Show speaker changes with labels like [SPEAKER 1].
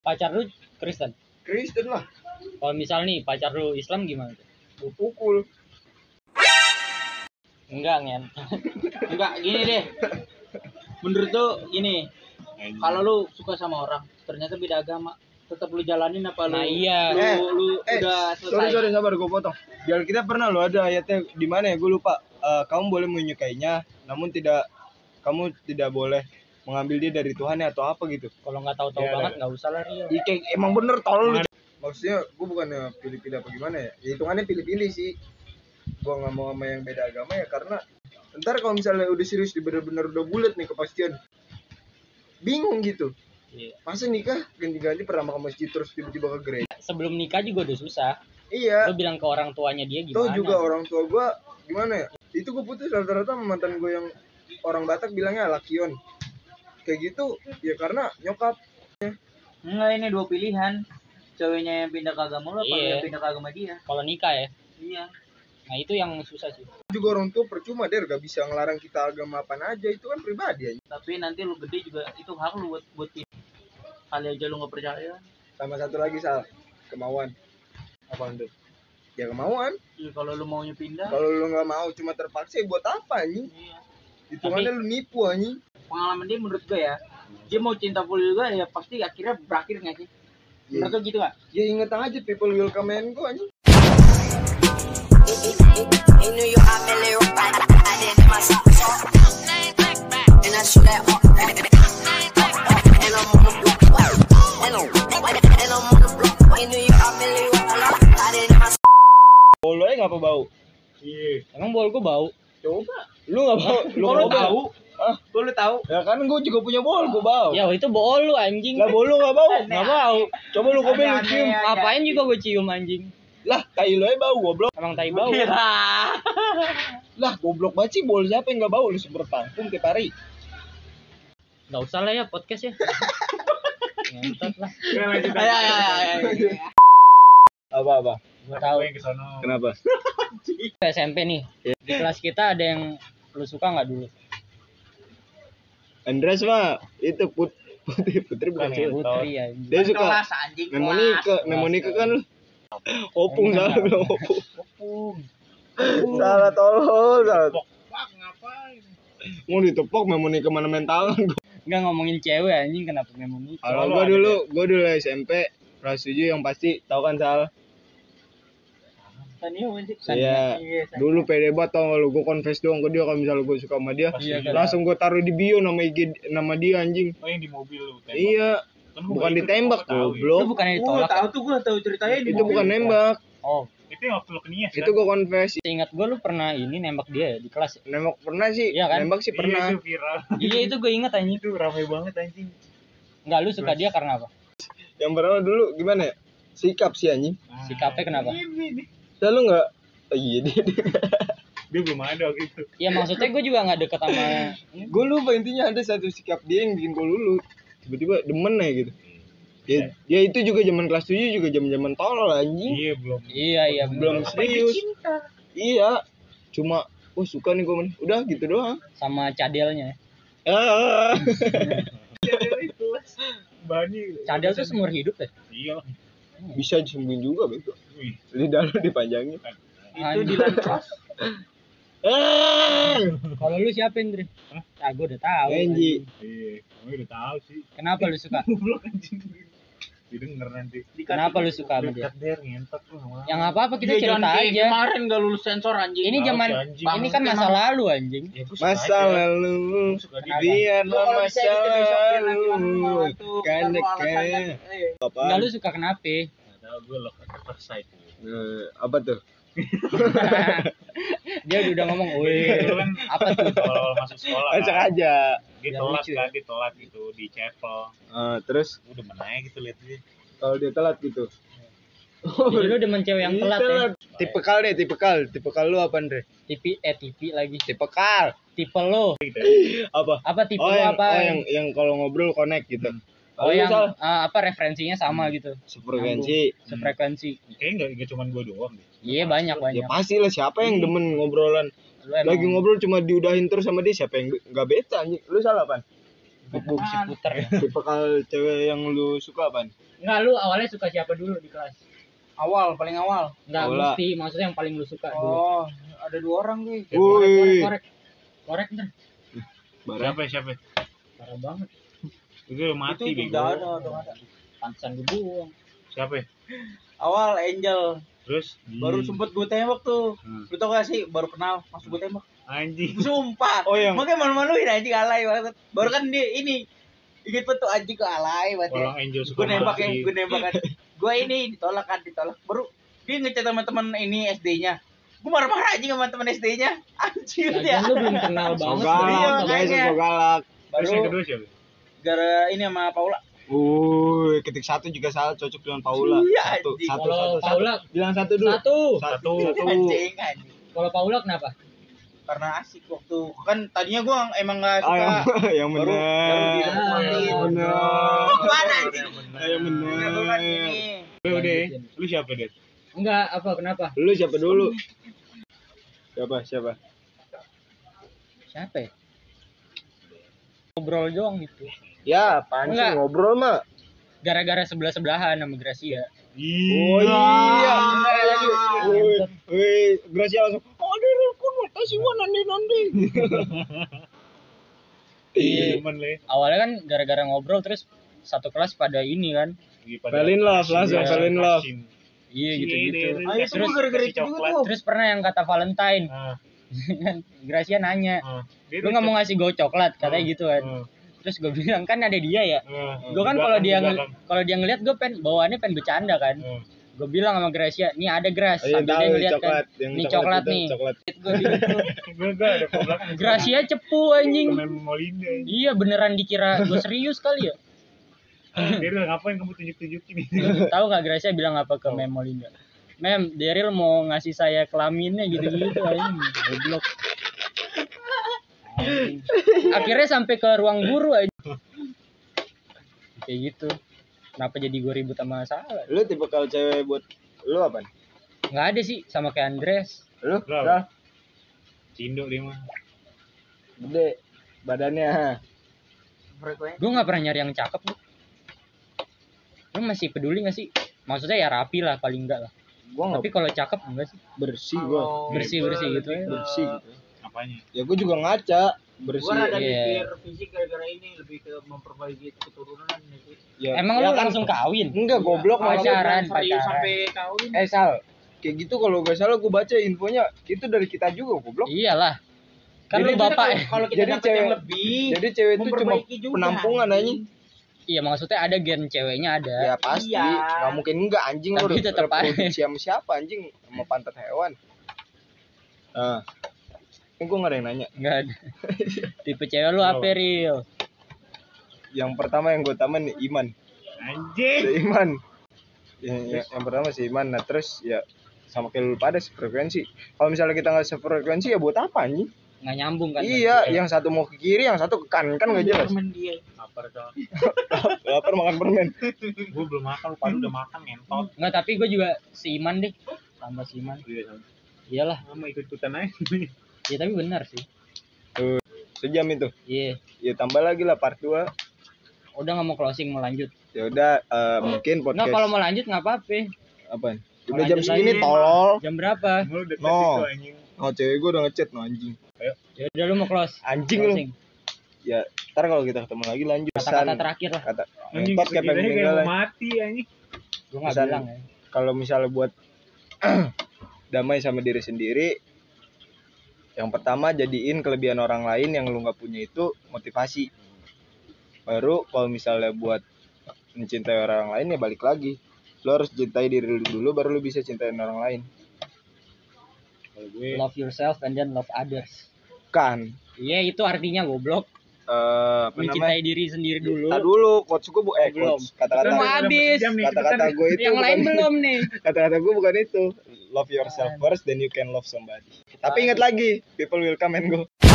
[SPEAKER 1] Pacar lu Kristen.
[SPEAKER 2] Kristen lah
[SPEAKER 1] Kalau misal nih pacar lu Islam gimana? tuh?
[SPEAKER 2] gue pukul
[SPEAKER 1] Enggak ngen.
[SPEAKER 3] Enggak, gini deh. Menurut tuh gini, kalau lu suka sama orang, ternyata beda agama, tetap lu jalanin apa lu?
[SPEAKER 1] Nah, iya.
[SPEAKER 3] Lu,
[SPEAKER 2] Eh,
[SPEAKER 3] Ya, lu
[SPEAKER 2] eh,
[SPEAKER 3] udah
[SPEAKER 2] sorry
[SPEAKER 3] selesai.
[SPEAKER 2] sorry sabar gue potong biar kita pernah lo ada ayatnya di mana ya gue lupa Eh, kamu boleh menyukainya namun tidak kamu tidak boleh mengambil dia dari Tuhan atau apa gitu
[SPEAKER 1] Kalau nggak tahu-tahu
[SPEAKER 2] Iya,
[SPEAKER 1] banget nggak usah lah Rio.
[SPEAKER 2] Iya kayak emang bener tolol maksudnya gue bukannya pilih-pilih apa gimana ya ya hitungannya pilih-pilih sih gue nggak mau sama yang beda agama ya karena ntar kalau misalnya udah serius di bener-bener udah bulat nih kepastian bingung gitu
[SPEAKER 1] Iya.
[SPEAKER 2] masa nikah ganti-ganti pertama ke masjid terus tiba-tiba ke gereja
[SPEAKER 1] Sebelum nikah juga udah susah.
[SPEAKER 2] iya
[SPEAKER 1] Lu bilang ke orang tuanya dia gimana?
[SPEAKER 2] toh juga orang tua gue gimana ya itu gue putus rata-rata sama mantan gue yang orang Batak bilangnya lakion kayak gitu ya karena nyokap
[SPEAKER 3] Enggak, ini dua pilihan. Ceweknya yang pindah ke agama lu apa lu
[SPEAKER 1] Iya.
[SPEAKER 3] yang pindah ke agama dia?
[SPEAKER 1] Kalau nikah ya.
[SPEAKER 3] Iya.
[SPEAKER 1] Nah itu yang susah sih.
[SPEAKER 2] juga orang tua percuma deh gak bisa ngelarang kita agama apa aja itu kan pribadi ya
[SPEAKER 3] Tapi nanti lu gede juga itu hak lu buat buat pilih. Kali aja lu nggak percaya.
[SPEAKER 2] sama satu lagi salah kemauan apa tuh ya kemauan
[SPEAKER 3] Ya, kalau lu maunya pindah,
[SPEAKER 2] kalau lu nggak mau cuma terpaksa ya buat apa anjing
[SPEAKER 3] iya.
[SPEAKER 2] hitungannya lu nipu anjing
[SPEAKER 3] pengalaman dia menurut gue ya, dia mau cinta full juga ya pasti akhirnya berakhir nggak sih?
[SPEAKER 2] Iya.
[SPEAKER 3] Menurut lu gitu kan?
[SPEAKER 2] ya inget aja people will come and go anjing
[SPEAKER 4] In New York, I'm a little bad. I did my socks off. And I shoot that up. And I'm on the block. And I'm, and I'm on the block. In New York, I'm a little bad. I did my
[SPEAKER 2] bolo nya nggak apa bau
[SPEAKER 3] Iya.
[SPEAKER 1] Emang bol gua bau.
[SPEAKER 2] coba lu nggak bau lu
[SPEAKER 3] Kok lu
[SPEAKER 2] nggak
[SPEAKER 3] tahu?
[SPEAKER 2] bau Hah?
[SPEAKER 3] Kok lu tahu?
[SPEAKER 2] ya kan gua juga punya bol gua bau
[SPEAKER 1] Ya itu bol lu anjing.
[SPEAKER 2] lah bol lu nggak bau
[SPEAKER 1] Nggak mau.
[SPEAKER 2] coba lu kopi lu cium
[SPEAKER 3] Aneh, aneh.
[SPEAKER 1] Apain juga gue cium anjing.
[SPEAKER 2] lah tai lu aja bau goblok
[SPEAKER 1] Emang tai bau.
[SPEAKER 2] Iya. lah goblok banget sih bol siapa yang nggak bau lu semprot parfum tiap hari
[SPEAKER 1] Nggak usah lah ya podcast ya. Ngentot lah. Iya,
[SPEAKER 3] Ya, ya, ya, ya, ya.
[SPEAKER 2] apa apa
[SPEAKER 1] Gue tahu.
[SPEAKER 2] kenapa
[SPEAKER 1] SMP nih. Di kelas kita ada yang lu suka nggak dulu?
[SPEAKER 2] Andres mah itu put putri putri
[SPEAKER 1] Kayak
[SPEAKER 2] bukan sih
[SPEAKER 1] Putri anjing.
[SPEAKER 2] dia suka
[SPEAKER 3] Kelas anjing. kelas.
[SPEAKER 2] Memonika, Memonika kan lu. Opung
[SPEAKER 1] Memonika.
[SPEAKER 2] salah bilang opung. Salah tolol, salah. Mau ditepok Memonika mana main tangan.
[SPEAKER 1] Enggak ngomongin cewek anjing kenapa memang lu?
[SPEAKER 2] Kalau gua dulu, gua dulu SMP kelas 7 yang pasti tahu kan Sal.
[SPEAKER 3] Sania bukan sih?
[SPEAKER 2] Iya.
[SPEAKER 3] Iya, Sania.
[SPEAKER 2] Dulu pede banget tau nggak lu, gua confess doang ke dia kalau misalnya gua suka sama dia.
[SPEAKER 1] Iya, kan.
[SPEAKER 2] Langsung gua taruh di bio nama IG nama dia anjing.
[SPEAKER 5] Oh yang di mobil lu tembak.
[SPEAKER 2] Iya,
[SPEAKER 5] Kan gua
[SPEAKER 2] bukan
[SPEAKER 5] ikut,
[SPEAKER 2] ditembak
[SPEAKER 5] gua tahu
[SPEAKER 1] Lu
[SPEAKER 2] goblok.
[SPEAKER 1] bukannya
[SPEAKER 3] Gua
[SPEAKER 1] ditolak.
[SPEAKER 3] tahu
[SPEAKER 1] ya?
[SPEAKER 3] tuh gua tahu ceritanya di
[SPEAKER 2] Itu bukan nembak.
[SPEAKER 1] Oh,
[SPEAKER 5] itu. Itu yang ya, waktu lu ke Nias
[SPEAKER 2] Itu gua confess.
[SPEAKER 1] seingat gue lu pernah ini nembak dia ya di kelas. ya?
[SPEAKER 2] Nembak pernah sih,
[SPEAKER 1] Iya kan?
[SPEAKER 2] nembak sih
[SPEAKER 5] Iya,
[SPEAKER 2] pernah.
[SPEAKER 5] Itu viral.
[SPEAKER 1] Iya itu gue ingat anjing.
[SPEAKER 5] Itu ramai banget anjing.
[SPEAKER 1] Enggak lu suka dia karena apa?
[SPEAKER 2] Yang pertama dulu gimana ya? Sikap sih anjing.
[SPEAKER 3] Ah.
[SPEAKER 1] Sikapnya kenapa?
[SPEAKER 2] Lalu nggak? Oh, iya dia.
[SPEAKER 5] Dia belum ada waktu itu.
[SPEAKER 1] Ya maksudnya gue juga nggak deket sama
[SPEAKER 2] gue lupa intinya ada satu sikap dia yang bikin gue lulut. Tiba-tiba demen aja gitu.
[SPEAKER 5] Hmm.
[SPEAKER 2] Ya, ya itu juga zaman kelas 7 juga zaman-zaman tolol anjing.
[SPEAKER 5] Iya belum.
[SPEAKER 1] Iya iya bener.
[SPEAKER 2] Belum serius. Iya. Cuma oh suka nih gue men. Udah gitu doang.
[SPEAKER 1] sama cadelnya. ya.
[SPEAKER 2] Ah.
[SPEAKER 5] Bani.
[SPEAKER 1] Cadel tuh seumur hidup ya.
[SPEAKER 5] Iya. lah.
[SPEAKER 2] Bisa disembunyiin juga bego.
[SPEAKER 5] Wih.
[SPEAKER 2] Lidah lu dipanjangin.
[SPEAKER 3] Itu di Lancros.
[SPEAKER 2] Ah.
[SPEAKER 1] Kalau lu siapa Indri? Ah gue udah tahu.
[SPEAKER 2] Benji.
[SPEAKER 5] Iya. Kamu udah tahu sih.
[SPEAKER 1] Kenapa lu suka?
[SPEAKER 5] Goblok anjing. Didengar nanti.
[SPEAKER 1] Kenapa lu suka sama dia?
[SPEAKER 5] Dekat der ngentot lu sama.
[SPEAKER 1] Yang apa apa kita
[SPEAKER 3] Dia jangan
[SPEAKER 1] cerita
[SPEAKER 3] kayak
[SPEAKER 1] aja.
[SPEAKER 3] Kemarin gak lulus sensor anjing.
[SPEAKER 1] Ini
[SPEAKER 5] Tahu
[SPEAKER 1] zaman
[SPEAKER 5] sih, anjing.
[SPEAKER 1] ini kan masa lalu anjing.
[SPEAKER 5] Ya, gua suka
[SPEAKER 2] Masa
[SPEAKER 5] aja.
[SPEAKER 2] lalu
[SPEAKER 5] Gua suka dia.
[SPEAKER 1] Kenapa?
[SPEAKER 3] Lu
[SPEAKER 2] biarlah
[SPEAKER 3] kalau bisa
[SPEAKER 2] masa
[SPEAKER 3] gitu besok dia nanti
[SPEAKER 2] lalu
[SPEAKER 3] malam tuh,
[SPEAKER 2] kan
[SPEAKER 3] ntar lu alasannya,
[SPEAKER 2] dekat
[SPEAKER 3] eh,
[SPEAKER 1] Enggak
[SPEAKER 2] apa
[SPEAKER 1] lu suka kenapa?
[SPEAKER 5] Nggak tahu gue lock at first sight.
[SPEAKER 2] Eh, apa tuh
[SPEAKER 1] Dia udah- udah ngomong, "Weh,
[SPEAKER 5] Itu kan
[SPEAKER 1] apa tuh?"
[SPEAKER 5] Kalau masuk sekolah.
[SPEAKER 2] acak
[SPEAKER 5] kan,
[SPEAKER 2] aja
[SPEAKER 5] Dia
[SPEAKER 1] Biar
[SPEAKER 5] telat
[SPEAKER 1] lucu.
[SPEAKER 5] kan, dia telat gitu di chapel.
[SPEAKER 2] Eh, terus
[SPEAKER 5] Gue udah menanya gitu liat dia.
[SPEAKER 2] kalau dia telat gitu
[SPEAKER 1] Jadi lu demen cewek
[SPEAKER 2] Iya,
[SPEAKER 1] yang telat ya.
[SPEAKER 2] tipe kal deh tipe kal tipe kal lu apa Andre
[SPEAKER 1] Tipi eh tipi lagi.
[SPEAKER 2] tipe kal
[SPEAKER 1] Tipe lo.
[SPEAKER 2] apa
[SPEAKER 1] Apa tipe
[SPEAKER 2] oh
[SPEAKER 1] lo
[SPEAKER 2] yang
[SPEAKER 1] apa?
[SPEAKER 2] oh yang yang kalau ngobrol connect gitu
[SPEAKER 1] Oh, yang
[SPEAKER 2] misal
[SPEAKER 1] ah, apa referensinya sama gitu.
[SPEAKER 2] sefrekuensi
[SPEAKER 1] Sefrekuensi.
[SPEAKER 5] Kayaknya nggak nggak cuma gue doang deh.
[SPEAKER 1] Iya banyak
[SPEAKER 2] ya
[SPEAKER 1] banyak.
[SPEAKER 2] pasti lah siapa yang demen ngobrolan
[SPEAKER 1] Hmm. Lu emang
[SPEAKER 2] lagi ngobrol cuma diudahin terus sama dia siapa yang nggak bete anjing lu salah pan
[SPEAKER 6] Buk-buk
[SPEAKER 1] Apaan?
[SPEAKER 3] Puter ya.
[SPEAKER 6] Tipikal cewek yang lu suka apaan?
[SPEAKER 1] Enggak lu awalnya suka siapa dulu di kelas?
[SPEAKER 3] Awal, paling awal.
[SPEAKER 1] Enggak
[SPEAKER 6] Bola.
[SPEAKER 1] mesti, maksudnya yang paling lu suka dulu.
[SPEAKER 3] Oh, ada dua orang gue.
[SPEAKER 1] Ya, Korek, korek,
[SPEAKER 6] Woi,
[SPEAKER 1] korek. Korek ntar.
[SPEAKER 6] barang.
[SPEAKER 5] Siapa siapa?
[SPEAKER 1] Parah banget.
[SPEAKER 5] Itu mati
[SPEAKER 3] itu
[SPEAKER 5] bego.
[SPEAKER 3] udah ada, udah ada.
[SPEAKER 1] Pantesan gue buang.
[SPEAKER 5] Siapa?
[SPEAKER 3] Awal Angel,
[SPEAKER 5] Terus
[SPEAKER 3] baru
[SPEAKER 5] Hmm.
[SPEAKER 3] sempet gue tembak tuh.
[SPEAKER 5] Hmm.
[SPEAKER 3] Lu tau gak sih, baru kenal, masuk gue tembak.
[SPEAKER 5] anjing.
[SPEAKER 3] Sumpah.
[SPEAKER 6] Oh,
[SPEAKER 5] iya.
[SPEAKER 6] yang-
[SPEAKER 3] Makanya malu-maluin anjing alay banget. Baru kan dia ini ikut petu anjing ke alay banget.
[SPEAKER 5] Orang Angel suka
[SPEAKER 3] Gue nembak ya,
[SPEAKER 5] mati.
[SPEAKER 3] gue nembak kan. Gue ini ditolak kan, ditolak. Baru dia ngechat sama teman ini SD-nya. Gue marah-marah anjing sama teman SD-nya. Anjir
[SPEAKER 1] Lagian
[SPEAKER 3] dia.
[SPEAKER 1] lu belum kenal
[SPEAKER 6] So
[SPEAKER 1] banget.
[SPEAKER 3] Iya,
[SPEAKER 6] galak,
[SPEAKER 1] lu.
[SPEAKER 6] guys,
[SPEAKER 3] makanya.
[SPEAKER 6] so galak.
[SPEAKER 5] Terus yang
[SPEAKER 3] Baru
[SPEAKER 5] kedua siapa?
[SPEAKER 3] gara ini sama Paula.
[SPEAKER 6] Wuih, ketik satu juga salah cocok dengan Paula.
[SPEAKER 3] Iya,
[SPEAKER 6] Satu,
[SPEAKER 3] anjing.
[SPEAKER 6] satu,
[SPEAKER 1] Kalau
[SPEAKER 6] satu, satu.
[SPEAKER 1] Paula
[SPEAKER 6] Bilang satu dulu.
[SPEAKER 1] satu.
[SPEAKER 5] Satu.
[SPEAKER 3] Anjing, anjing.
[SPEAKER 1] Kalau Paula kenapa?
[SPEAKER 3] Karena asik waktu kan tadinya gue emang gak
[SPEAKER 6] Ah,
[SPEAKER 3] suka.
[SPEAKER 1] iya.
[SPEAKER 6] yang, yang
[SPEAKER 3] Baru- baru
[SPEAKER 6] bener.
[SPEAKER 3] dia-
[SPEAKER 6] Yang
[SPEAKER 1] Ah,
[SPEAKER 6] bener.
[SPEAKER 3] Apaan anjing?
[SPEAKER 6] Ah, Yang
[SPEAKER 3] Nah, gua kan
[SPEAKER 6] bener.
[SPEAKER 3] ini.
[SPEAKER 5] Udah, udah. ya. Lu siapa,
[SPEAKER 1] Oh,
[SPEAKER 5] Det?
[SPEAKER 1] Enggak, apa kenapa?
[SPEAKER 6] Lu siapa dulu? Siapa, siapa?
[SPEAKER 1] Siapa ya? Ngobrol doang gitu.
[SPEAKER 6] Ya, apaan sih
[SPEAKER 1] Enggak.
[SPEAKER 6] ngobrol mah?
[SPEAKER 1] Gara-gara sebelah-sebelahan sama Gracia.
[SPEAKER 6] Oh iya, bener lagi. Wih, Wih, Gracia langsung. Oh, dia rukun, kasih gua nanti nanti.
[SPEAKER 5] Iya, cuman le.
[SPEAKER 1] Awalnya kan gara-gara ngobrol terus satu kelas pada ini kan.
[SPEAKER 5] Lagi pada-
[SPEAKER 6] Felin love, langsung
[SPEAKER 5] Iya,
[SPEAKER 6] felin love.
[SPEAKER 5] vaksin.
[SPEAKER 1] Iya gitu-gitu.
[SPEAKER 3] Ah, itu
[SPEAKER 5] Terus
[SPEAKER 3] gue gara-gara
[SPEAKER 5] kasih
[SPEAKER 3] itu juga
[SPEAKER 5] coklat.
[SPEAKER 3] tuh.
[SPEAKER 1] Terus pernah yang kata Valentine.
[SPEAKER 5] Ah,
[SPEAKER 1] Gracia nanya,
[SPEAKER 5] ah. Dia
[SPEAKER 1] "Lu
[SPEAKER 5] tuh
[SPEAKER 1] nggak mau
[SPEAKER 5] cok-
[SPEAKER 1] ngasih gue coklat?" katanya
[SPEAKER 6] Hmm.
[SPEAKER 1] gitu kan.
[SPEAKER 5] ah,
[SPEAKER 1] Terus gue bilang, "Kan ada dia ya."
[SPEAKER 5] ah, ah.
[SPEAKER 1] Gue kan
[SPEAKER 5] Di
[SPEAKER 1] kalau dia
[SPEAKER 5] belakang, di
[SPEAKER 1] ngel-
[SPEAKER 5] belakang.
[SPEAKER 1] kalau dia ngeliat gue pengen bawaannya pengen bercanda kan.
[SPEAKER 5] Ah.
[SPEAKER 1] Gue bilang sama Gracia, "Nih ada Gras."
[SPEAKER 6] Hmm. Iya,
[SPEAKER 1] Sambil
[SPEAKER 6] tahu
[SPEAKER 1] dia
[SPEAKER 6] nih,
[SPEAKER 1] ngeliat
[SPEAKER 6] coklat,
[SPEAKER 1] kan.
[SPEAKER 6] yang
[SPEAKER 1] Nih
[SPEAKER 6] coklat
[SPEAKER 1] coklat
[SPEAKER 6] itu,
[SPEAKER 1] nih.
[SPEAKER 6] coklat.
[SPEAKER 1] Gua gitu.
[SPEAKER 5] Gua enggak ada ke belakang.
[SPEAKER 1] Gracia cepu anjing.
[SPEAKER 5] Main Molina.
[SPEAKER 1] Iya beneran dikira gue serius kali ya.
[SPEAKER 5] Dia udah ngapain kamu tunjuk-tunjukin ini?
[SPEAKER 6] Gitu.
[SPEAKER 1] Tahu nggak Gracia bilang apa
[SPEAKER 6] Oh.
[SPEAKER 1] ke Mem Molinda? Mem, Daryl mau ngasih saya kelaminnya gitu-gitu anjing. Goblok. Anjing. Akhirnya sampai ke ruang guru aja. Kayak gitu. Kenapa jadi gue ribut sama Salah?
[SPEAKER 6] Lu tipe kalau cewek buat lu apa?
[SPEAKER 1] Nggak ada sih sama kayak Andres.
[SPEAKER 6] Lu?
[SPEAKER 5] Lah.
[SPEAKER 6] Lah,
[SPEAKER 5] Cindo dia mah.
[SPEAKER 6] gede badannya.
[SPEAKER 1] Gue nggak pernah nyari yang cakep. Lu. Lu masih peduli nggak sih? Maksudnya ya rapi lah paling enggak lah.
[SPEAKER 6] Gua
[SPEAKER 1] Tapi
[SPEAKER 6] enggak
[SPEAKER 1] kalau cakep enggak sih?
[SPEAKER 6] bersih gua.
[SPEAKER 3] Kalau
[SPEAKER 1] Bersih bersih gitu. ya.
[SPEAKER 6] Bersih gitu.
[SPEAKER 5] Apanya?
[SPEAKER 6] Ya gua juga ngaca
[SPEAKER 3] Gue
[SPEAKER 6] bersih.
[SPEAKER 3] rada
[SPEAKER 1] Iya.
[SPEAKER 3] mikir fisik gara-gara ini lebih ke memperbaiki keturunan. gitu.
[SPEAKER 6] Ya,
[SPEAKER 1] Emang
[SPEAKER 6] ya
[SPEAKER 1] lu
[SPEAKER 6] kan-
[SPEAKER 1] langsung gitu? kawin?
[SPEAKER 6] Enggak goblok
[SPEAKER 1] Pacaran,
[SPEAKER 3] Serius
[SPEAKER 6] maksudnya.
[SPEAKER 1] pacaran.
[SPEAKER 3] sampai kawin.
[SPEAKER 6] Eh Sal, kayak gitu kalau gak salah gue baca infonya itu dari kita juga goblok.
[SPEAKER 1] Iyalah. Kan
[SPEAKER 3] Jadi
[SPEAKER 1] lu
[SPEAKER 3] kita
[SPEAKER 1] bapak
[SPEAKER 3] kalau- Kalau kita
[SPEAKER 6] ya? Jadi
[SPEAKER 3] dapat yang
[SPEAKER 6] cewek-
[SPEAKER 3] lebih.
[SPEAKER 6] Jadi cewek itu cuma
[SPEAKER 3] memperbaiki juga,
[SPEAKER 6] penampungan
[SPEAKER 3] anjing.
[SPEAKER 6] anjing.
[SPEAKER 1] Iya maksudnya ada gen ceweknya ada.
[SPEAKER 6] Ya pasti,
[SPEAKER 3] Iya.
[SPEAKER 6] nggak mungkin enggak anjing lu
[SPEAKER 1] Tapi tetep aja.
[SPEAKER 6] reproduksi sama siapa anjing sama pantat hewan. Ah. Ini gue gak ada yang nanya.
[SPEAKER 1] Enggak ada.
[SPEAKER 6] Iya.
[SPEAKER 1] Tipe cewek lu apa real?
[SPEAKER 6] Yang pertama yang gue tamen Iman.
[SPEAKER 5] Anjing.
[SPEAKER 6] Si Iman. Ya, ya, yang pertama si Iman. Nah terus ya sama kayak lu pada sefrekuensi. Kalau misalnya kita nggak sefrekuensi ya buat apa anjing?
[SPEAKER 1] Enggak nyambung kan?
[SPEAKER 6] iya, yang satu mau ke kiri, yang satu ke kanan
[SPEAKER 1] Iya,
[SPEAKER 6] kan nggak jelas.
[SPEAKER 3] Temen dia.
[SPEAKER 5] Lapar dong.
[SPEAKER 6] Lapar makan permen.
[SPEAKER 5] Gua belum makan, lu pada udah makan ngentot.
[SPEAKER 1] Enggak, tapi gue juga seiman deh. Tambah seiman.
[SPEAKER 5] Iya.
[SPEAKER 1] Iyalah.
[SPEAKER 5] Sama ikut-ikutan aja.
[SPEAKER 1] Ya tapi benar sih.
[SPEAKER 6] Sejam itu.
[SPEAKER 1] Iya.
[SPEAKER 6] ya tambah lagi lah part 2
[SPEAKER 1] Udah nggak mau closing mau lanjut.
[SPEAKER 6] ya udah eh, mungkin
[SPEAKER 1] Nah,
[SPEAKER 6] podcast
[SPEAKER 1] kalau mau lanjut nggak apa-apa.
[SPEAKER 6] apa udah
[SPEAKER 1] Lanjut
[SPEAKER 6] jam segini
[SPEAKER 1] lagi.
[SPEAKER 6] tolol
[SPEAKER 1] Jam berapa?
[SPEAKER 5] Lu udah
[SPEAKER 6] No.
[SPEAKER 5] kasih anjing.
[SPEAKER 6] oh cewek gue udah ngechat no anjing
[SPEAKER 1] Ya udah lu mau close.
[SPEAKER 6] anjing lu
[SPEAKER 1] Closing.
[SPEAKER 6] ya ntar kalau kita ketemu lagi lanjut
[SPEAKER 1] Kata-kata
[SPEAKER 6] Pesan-
[SPEAKER 1] terakhir lah.
[SPEAKER 6] kata
[SPEAKER 5] Anjing
[SPEAKER 6] pot kayak
[SPEAKER 5] kayak
[SPEAKER 6] pengen
[SPEAKER 5] kayak
[SPEAKER 6] meninggal
[SPEAKER 5] mau
[SPEAKER 6] lah.
[SPEAKER 5] mati anjing.
[SPEAKER 1] Gue nggak
[SPEAKER 6] Pesan-
[SPEAKER 1] bilang ya.
[SPEAKER 6] kalau misalnya buat damai sama diri sendiri yang pertama jadiin kelebihan orang lain yang lu nggak punya itu motivasi baru kalau misalnya buat mencintai orang lain ya balik lagi lo harus cintai diri lu dulu baru lu bisa cintain orang lain
[SPEAKER 5] Kalau gue
[SPEAKER 1] Love yourself and then love others.
[SPEAKER 6] kan
[SPEAKER 1] Iya itu artinya goblok.
[SPEAKER 6] eh apa namanya
[SPEAKER 1] Mencintai diri sendiri dulu.
[SPEAKER 6] Tak dulu, quotes gue bu eh
[SPEAKER 1] Belum.
[SPEAKER 6] quotes
[SPEAKER 1] Belum
[SPEAKER 6] kata-kata
[SPEAKER 1] habis.
[SPEAKER 5] Jam nih,
[SPEAKER 6] kata-kata
[SPEAKER 5] cepetan.
[SPEAKER 6] gue itu
[SPEAKER 1] Yang lain
[SPEAKER 6] bukan-
[SPEAKER 1] belum nih.
[SPEAKER 6] kata-kata gue bukan itu. Love yourself first, then you can love somebody. Tapi ingat lagi, people will come and go.